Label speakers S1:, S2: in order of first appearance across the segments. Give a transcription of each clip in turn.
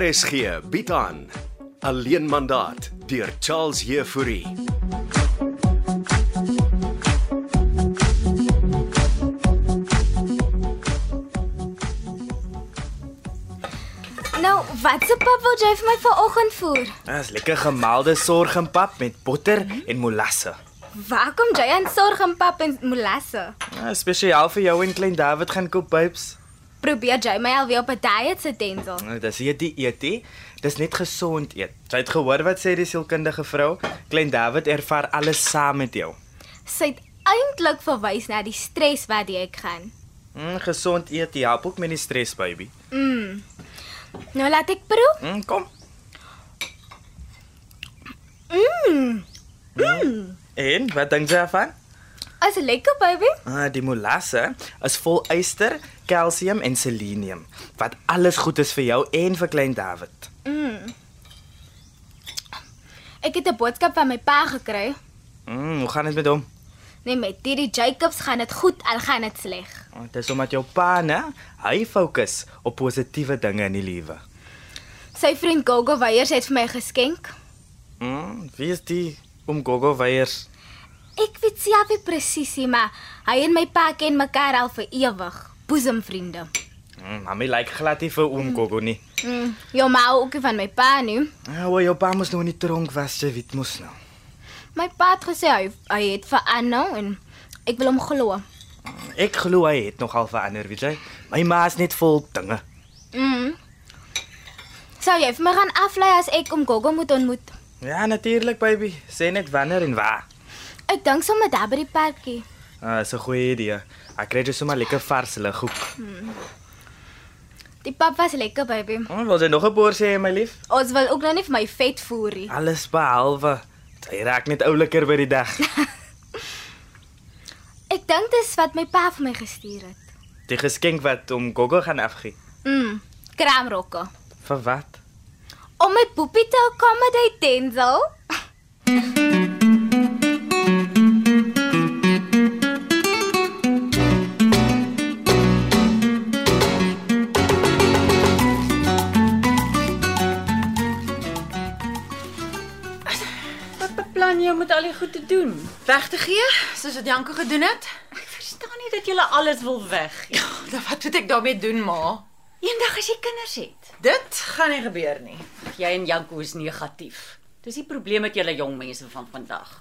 S1: RSG bied aan Alleen mandaat deur Charles Heffouri.
S2: Nou, wat se pap wil jy vir my vanoggend voer?
S3: Dis Ah, lekker gemelde sorg en pap met botter en molasse.
S2: Waar kom jy aan sorg en pap en molasse?
S3: Ja, spesiaal vir jou en klein David gaan koop babes.
S2: Probeer jy my alweer op 'n diet se tensel?
S3: Nou, dis hier die eet hè. Dis net gesond eet. Jy het gehoor wat sê die sielkundige vrou? Klein David ervaar alles saam met jou.
S2: Sy het eintlik verwys na die stres wat jy gaan.
S3: Mm, gesond eet die help ook met die stres baby.
S2: Nou laat ek proe.
S3: Mm, kom. Mm. Mm. En wat dink jy van?
S2: Is lekker, baby.
S3: Ah, die molasse is vol yster, kalsium en selenium, wat alles goed is vir jou en vir klein David.
S2: Ek het 'n boodskap van my pa gekry.
S3: Mm, hoe gaan dit met hom?
S2: Nee, met hierdie Jacobs gaan dit goed, al gaan dit sleg.
S3: Ah, Dit is omdat jou pa, né, hy fokus op positiewe dinge in die lewe.
S2: Sy vriend Gogo Weyers het vir my geskenk.
S3: Mm, wie is die om Gogo Weyers?
S2: Ek weet self nie presies nie, maar hy en my pa ken mekaar al vir ewig, boesemvriende.
S3: Mm, mami lyk glad nie vir oom Gogo nie.
S2: Mm, jou ma hou ook nie van my pa nie.
S3: Ah, o, jou pa moes nou in die tronk was, jy weet mos nou.
S2: My pa het gesê hy hy het verander en ek wil hom glo.
S3: Ek glo hy het nogal verander, weet jy. My ma is net vol dinge.
S2: Mm. Sou jy vir my gaan aflei as ek om Gogo moet ontmoet?
S3: Ja, natuurlik, baby. Sê net wanneer en waar.
S2: Ek dink sommer daar by die parkie.
S3: Ah, dis 'n goeie idee. Ek kry jy sommer lekker vars lighoek.
S2: Die pap was lekker, baby.
S3: Oh, wil jy nog 'n boer sê, my lief?
S2: Ons wil ook nou nie vir my vet voer nie.
S3: Alles behalwe. Jy raak net ouliker by die dag.
S2: Ek dink dis wat my pa vir my gestuur het.
S3: Die geskenk wat om Gogo gaan afgee.
S2: Mm, kraamrokke.
S3: Vir wat?
S2: Om my poepie te accommodate, Denzel.
S4: Wat beplan jy om met al die goed te doen?
S5: Weg te gee, soos wat Janko gedoen het?
S4: Ek verstaan nie dat jy alles wil weg.
S5: Ja, dan wat moet ek daarmee doen, ma?
S4: Eendag as jy kinders het,
S5: Dit gaan nie gebeur nie.
S4: jy en Janko is negatief. Dis die probleem met julle jong mense van vandag.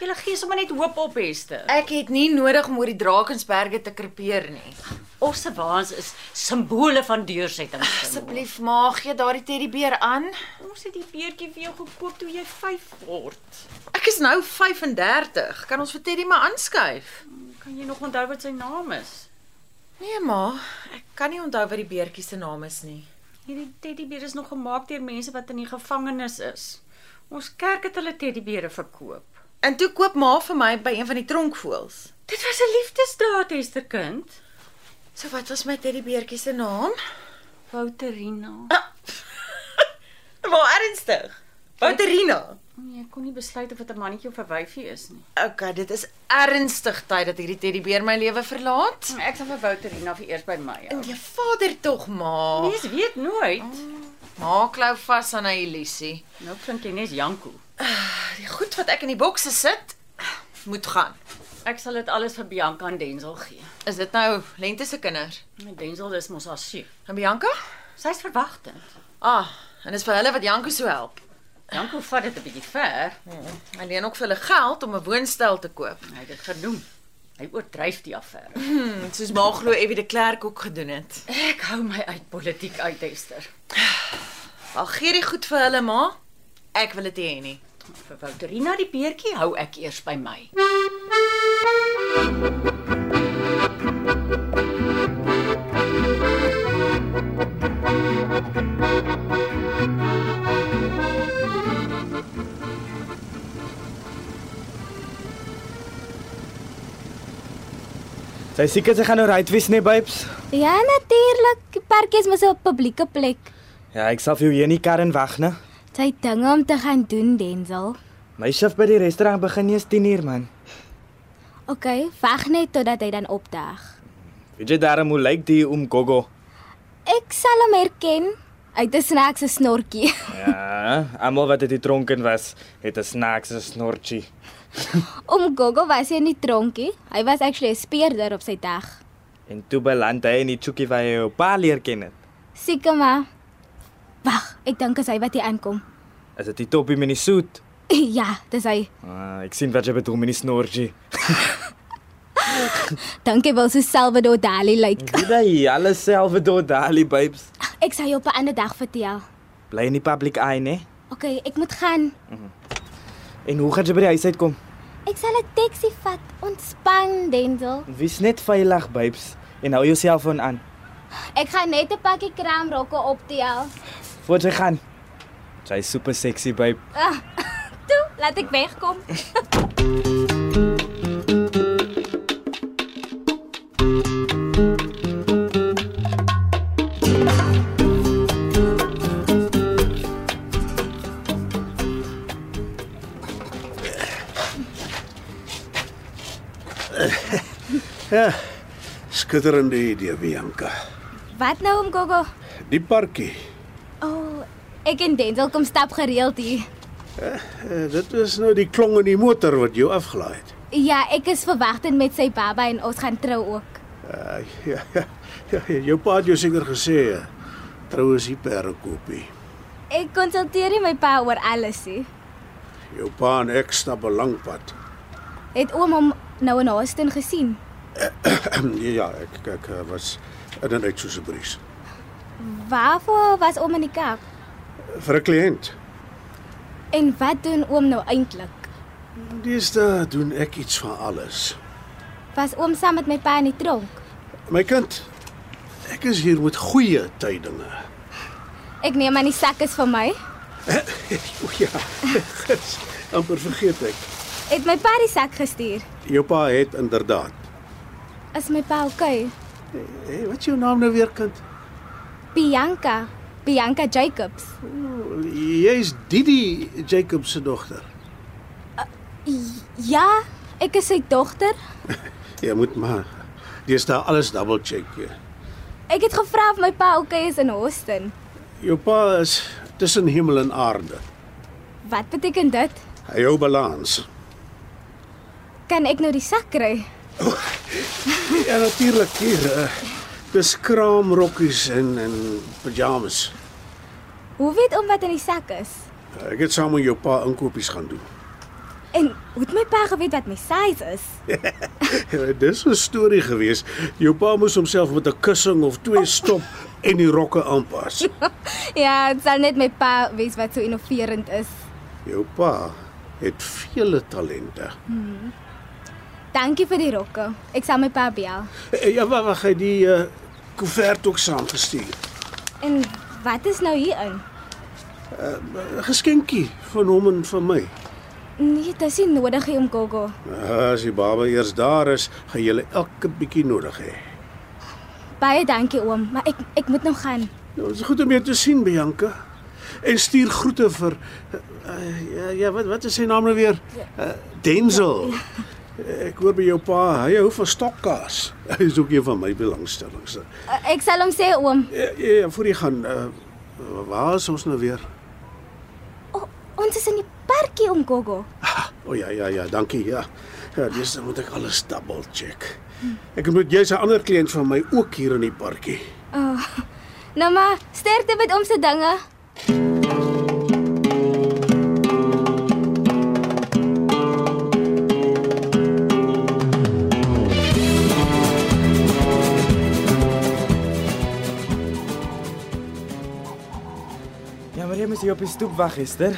S4: Julle gee sommer net hoop op heste.
S5: Ek het nie nodig om oor die Drakensberge te krepeer nie.
S4: Ons waans is simbole van deursettings.
S5: Asseblief, ma, gee daardie teddybeer aan.
S4: ons het die beertjie vir jou gekoop toe jy 5 word.
S5: Ek is nou 35. Kan ons vir Teddy maar aanskuif?
S4: Hmm, Kan jy nog onthou wat sy naam is?
S5: Nee, ma, ek kan nie onthou wat die beertjie se naam is nie.
S4: Hierdie teddybeer is nog gemaak deur mense wat in die gevangenis is. Ons kerk het hulle teddybere verkoop.
S5: En toe koop ma vir my by een van die tronkvoëls.
S4: Dit was 'n liefdesdaad, Hesterkind.
S5: So wat was my teddybeertjie se naam?
S4: Wouterina.
S5: Maar ernstig. Wouterina.
S4: Nee, ek kon nie besluit of dit 'n mannetjie of 'n wyfie is nie.
S5: Okay, dit is ernstig tyd dat hierdie teddybeer my lewe verlaat.
S4: Ek sal vir Wouterina vir eers by my
S5: En
S4: hou. Oh.
S5: jou vader tog, ma.
S4: Mens weet nooit.
S5: Ma klou vas aan hy illusie.
S4: Nou klink jy net Janko.
S5: Die goed wat ek in die bokse sit, moet gaan.
S4: Ek sal dit alles vir Bianca en Denzel gee.
S5: Is dit nou lente se kinders?
S4: En Denzel is mos asie.
S5: En Bianca?
S4: Sy's verwagtend.
S5: Ah, en dis vir hulle wat Janko so help.
S4: Janko vat dit 'n bietjie ver.
S5: Hy leen ook vir hulle geld om 'n woonstel te koop.
S4: Hy het dit genoem. Hy oordryf die affære.
S5: Hmm, soos ma glo Evie de Klerk ook gedoen het.
S4: Ek hou my uit politiek uit, Hester.
S5: Al gee die goed vir hulle, ma. Ek wil dit nie hê nie.
S4: Vir Wouterina die beertjie hou ek eers by my.
S3: Sy seker sy gaan nou right wees, nee, babes.
S2: Ja, natuurlik. Die parkie is mos 'n publieke plek.
S3: Ja, ek sal vir jou hier in die kar en wag, né?
S2: Jy het dinge om te gaan doen, Denzel.
S3: My shift by die restaurant begin eers 10uur, man.
S2: OK, wag net totdat hy dan opdag.
S3: Weet jy daarom hoe lyk die oom Gogo?
S2: Ek sal hom herken. Uit 'n snack se snorkie.
S3: Ja, almal wat dit dronken was, het 'n snaakse snortjie.
S2: Om Gogo was hy nie dronkie. Hy was actually 'n speerder op sy dag.
S3: En toe beland hy in die chookie waar hy jou pa leer ken het.
S2: Seker maar. Wag, ek dink as hy wat hier aankom.
S3: Is dit die toppie met die soet?
S2: ja, dis hy.
S3: Ah, ek sien wat jy bedoel met die snortjie.
S2: Dankie wel so Salvador Dali lyk. Like.
S3: Dit hy alles selfe dot Dali babes.
S2: Ek sal jou op 'n ander dag vertel.
S3: Bly in die public eye, né?
S2: OK, ek moet gaan.
S3: En hoe gaan jy by die huis uitkom?
S2: Ek sal 'n taxi vat. Ontspan, Denzel.
S3: Wees net veilig, babes, en hou jou selfoon aan.
S2: Ek gaan net 'n pakkie kraamrokke optel.
S3: Voor jy gaan. Jy's super sexy, babe.
S2: Toe, laat ek wegkom.
S6: Skitterende idee, Bianca.
S2: Wat nou om Gogo?
S6: Die parkie.
S2: O, oh, ek en Denzel kom stap gereeld hier.
S6: Uh, dit is nou die klong in die motor wat jou afgelaai het.
S2: Ja, ek is verwagtend met sy baba en ons gaan trou ook.
S6: Uh, ja, ja, ja, jou pa het jou seker gesê eh, trou is die perdekopie.
S2: Ek konsulteer nie my pa oor alles nie.
S6: Jou pa en ek stap 'n lang pad.
S2: Het oom hom nou in Haaston gesien?
S6: ja, ek ek eh, was in en uit soos 'n bries.
S2: Waarvoor was oom in die Kaap?
S6: Vir 'n kliënt.
S2: En wat doen oom nou eintlik?
S6: Diesda doen ek iets van alles.
S2: Was oom saam met my pa in die tronk?
S6: My kind, ek is hier met goeie tydinge.
S2: Ek neem aan die sak is vir my.
S6: O ja, gits, amper vergeet ek.
S2: Het my pa die sak gestuur?
S6: Jou pa het inderdaad.
S2: Is my pa okay?
S6: Hey, wat is jou naam nou weer kind?
S2: Bianca, Bianca Jacobs.
S6: Jy's Didi Jacob se dogter.
S2: Ja, ek is sy dogter.
S6: Jy moet maar dis daar alles double check. ja.
S2: Ek het gevra of my pa okay is in Houston.
S6: Jou pa is tussen hemel en aarde.
S2: Wat beteken dit?
S6: Hy hou balans.
S2: Kan ek nou die sak kry?
S6: Ja natuurlik hier. eh, Dis kraamrokkies en en pyjamas.
S2: Hoe weet oom wat in die sak is?
S6: Ek het saam met jou pa inkopies gaan doen.
S2: En hoe het my pa geweet wat my size is?
S6: Ja, Dis 'n storie gewees. Jou pa moes homself met 'n kussing of twee stop en die rokke aanpas.
S2: ja, dit sal net my pa wees wat so innoverend is.
S6: Jou pa het vele talente.
S2: Dankie vir die rokke. Ek sal my pa bel.
S6: Eh, Ja, wag, wag, hy het die uh, koevert ook saamgestuur.
S2: En wat is nou hierin?
S6: 'n Geskenkie van hom en van my.
S2: Nee, dit is nie nodig hier om Gogo.
S6: Ah, As die baba eers daar is, gaan jy elke bietjie nodig hê.
S2: Baie dankie oom, maar ek ek moet nou gaan.
S6: Nou, dit is goed om jou te sien, Bianca. En stuur groete vir uh, ja, ja, wat wat is sy naam nou weer? Uh, Denzel. Eh, Ek hoor by jou pa, hy hou van stokkaas. Hy is ook een van my belangstellings.
S2: Uh, Ek sal hom sê oom,
S6: Ja, ja, ja, voor jy gaan, uh, waar is ons nou weer?
S2: o, ons is in die parkie om Gogo.
S6: O oh, ja ja ja, dankie ja. Ja, dis dan moet ek alles double check. Ek moet jy's 'n ander kliënt van my ook hier in die parkie.
S2: Oh, nou maar sterkte met oom se dinge.
S3: Ja, maar jy moes hier op die stoep wag gister.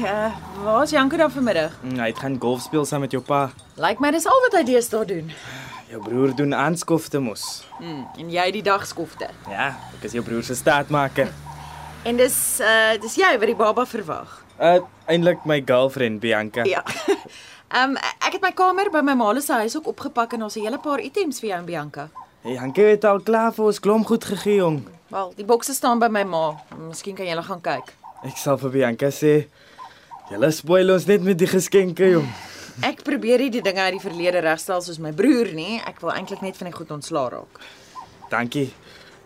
S5: Ja, waar's Janko dan vanmiddag?
S3: Mm, Hy het gaan golf speel saam met jou pa.
S5: Lyk my dis al wat hy deesdae doen.
S3: Jou broer doen aanskofte mos.
S5: Hmm, en jy die dagskofte.
S3: Ja, ek is jou broer se staatmaker.
S5: En dis uh dis jy wat die baba verwag.
S3: Uh eintlik my girlfriend Bianca.
S5: Ja. Ehm um, ek het my kamer by my ma se huis ook opgepak en ons het 'n hele paar items vir jou en Bianca.
S3: Hey, Hanke het al klaar vir ons klomp goed gegee, jong.
S5: Wel, die bokse staan by my ma. Miskien kan jy hulle gaan kyk.
S3: Ek sal vir Bianca sê, "Julle spoil ons net met die geskenke, jong."
S5: Ek probeer nie die dinge uit die verlede regstel soos my broer nie. Ek wil eintlik net van die goed ontslaa raak.
S3: Dankie.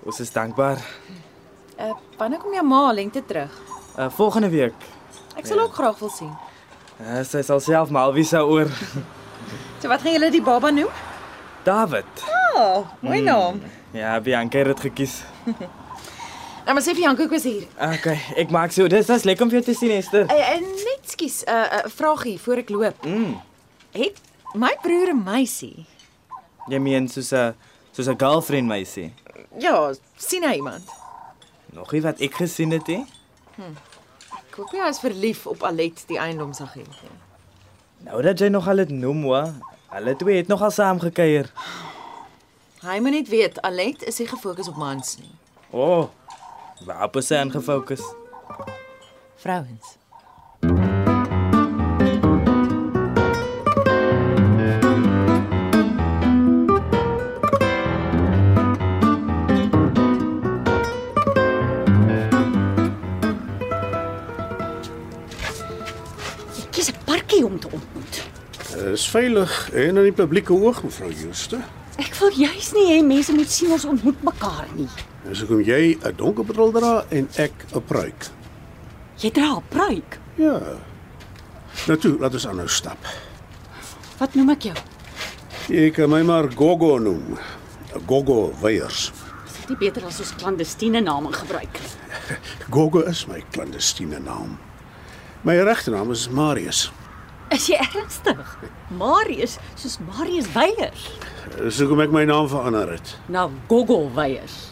S3: Ons is dankbaar.
S5: Uh, wanneer kom jou ma lente terug?
S3: Uh volgende week.
S5: Ek sal ja. ook graag wil sien.
S3: Uh, sy sal self maar wie sou oor
S5: So wat gaan julle die baba noem?
S3: David.
S5: Oh, mooi naam. Mm.
S3: Ja, Bianca het dit gekies.
S5: Nou maar sê vir Janko ek was hier.
S3: Okay, Ah, ek maak so. Dis dis lekker om jou te sien, Esther.
S5: Uh, uh, net skus, 'n uh, uh, vragie voor ek loop. Mm. Het my broer 'n meisie?
S3: Jy meen soos 'n soos 'n girlfriend meisie.
S5: Ja, sien hy iemand?
S3: Nog nie wat ek gesien het hè.
S5: Ek hoop nie hy is verlief op Alet die eiendomsagent nie.
S3: Nou dat jy nog al dit noem, hoor. Hulle twee het nogal saam gekuier.
S5: Hy moet net weet Alet is nie gefokus op mans nie.
S3: O. Oh, waarop is hy ingefokus?
S5: Vrouens.
S4: Ek kies 'n parkie om te ontmoet.
S6: Dis veilig en in die publieke oog, mevrou Jooste.
S4: Ek wil juis nie hê mense moet sien ons ontmoet mekaar nie.
S6: Dis hoekom jy 'n donker bril dra en ek 'n pruik.
S4: Jy dra 'n pruik.
S6: Ja. Nou toe, laat ons aanhou stap.
S4: Wat noem ek jou?
S6: Jy kan my maar Gogo noem. Gogo Weyers.
S4: Dis nie beter as ons klandestiene name gebruik nie.
S6: Gogo is my klandestiene naam. My regte naam is Marius.
S4: Is jy ernstig? Marius, soos Marius Weyers.
S6: Dis hoekom ek my naam verander het.
S4: Na Gogo Weyers.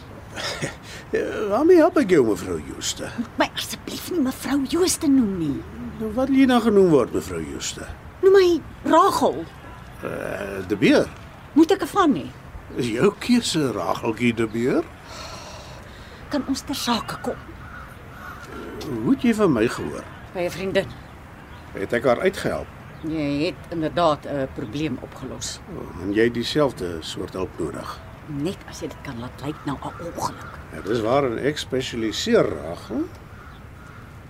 S6: Eh, Waarmee help ek jou, mevrou Jooste?
S4: Moet my asseblief nie mevrou Jooste noem nie.
S6: Nou wat wil jy nou genoem word, mevrou Jooste?
S4: Noem my Rachel.
S6: Eh, De Beer.
S4: Moet ek ervan nie?
S6: Is jou keuse Rageltjie De Beer?
S4: Kan ons ter sake kom
S6: Hoe het jy van my gehoor?
S4: by 'n vriendin?
S6: Het ek haar uitgehelp?
S4: Jy het inderdaad 'n probleem opgelos.
S6: Oh, En jy het dieselfde soort hulp nodig.
S4: Net as jy dit kan laat lyk na 'n ongeluk.
S6: Ja, dis waar en ek spesialiseer Ragel.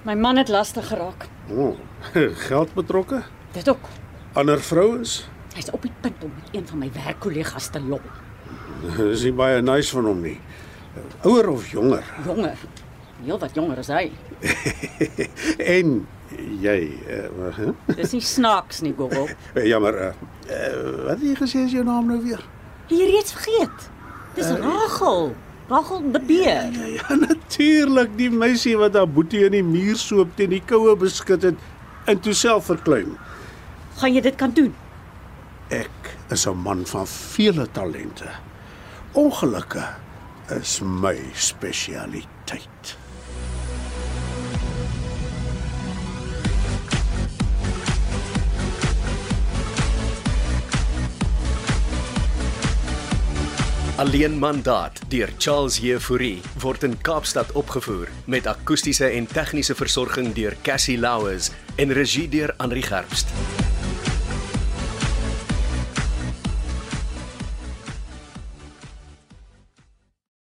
S4: My man het lastig geraak.
S6: O, oh, geld betrokke?
S4: Dit ook.
S6: Ander vrouens?
S4: Hy's op die punt om met een van my werkkollegas te lol.
S6: Dis nie baie nice van hom nie. Ouer of jonger?
S4: Jonger. Heel wat jonger as hy.
S6: en jy, uh, huh?
S4: Dis nie snaaks nie, Gogo.
S6: jammer. Uh, uh, wat het jy gesê is jou naam nou weer?
S4: Jy het reeds vergeet. Dis Rachel. Rachel die beer.
S6: Ja, ja natuurlik, die meisie wat haar boetie in die muur soop teen die koue beskit het en toe self verkleim.
S4: Gaan jy dit kan doen?
S6: Ek is 'n man van vele talente. Ongelukke is my spesialiteit.
S1: Alleen mandaat deur Charles Jefouri word in Kaapstad opgevoer met akoestiese en tegniese versorging deur Cassie Louws en regie deur Henri Gerst.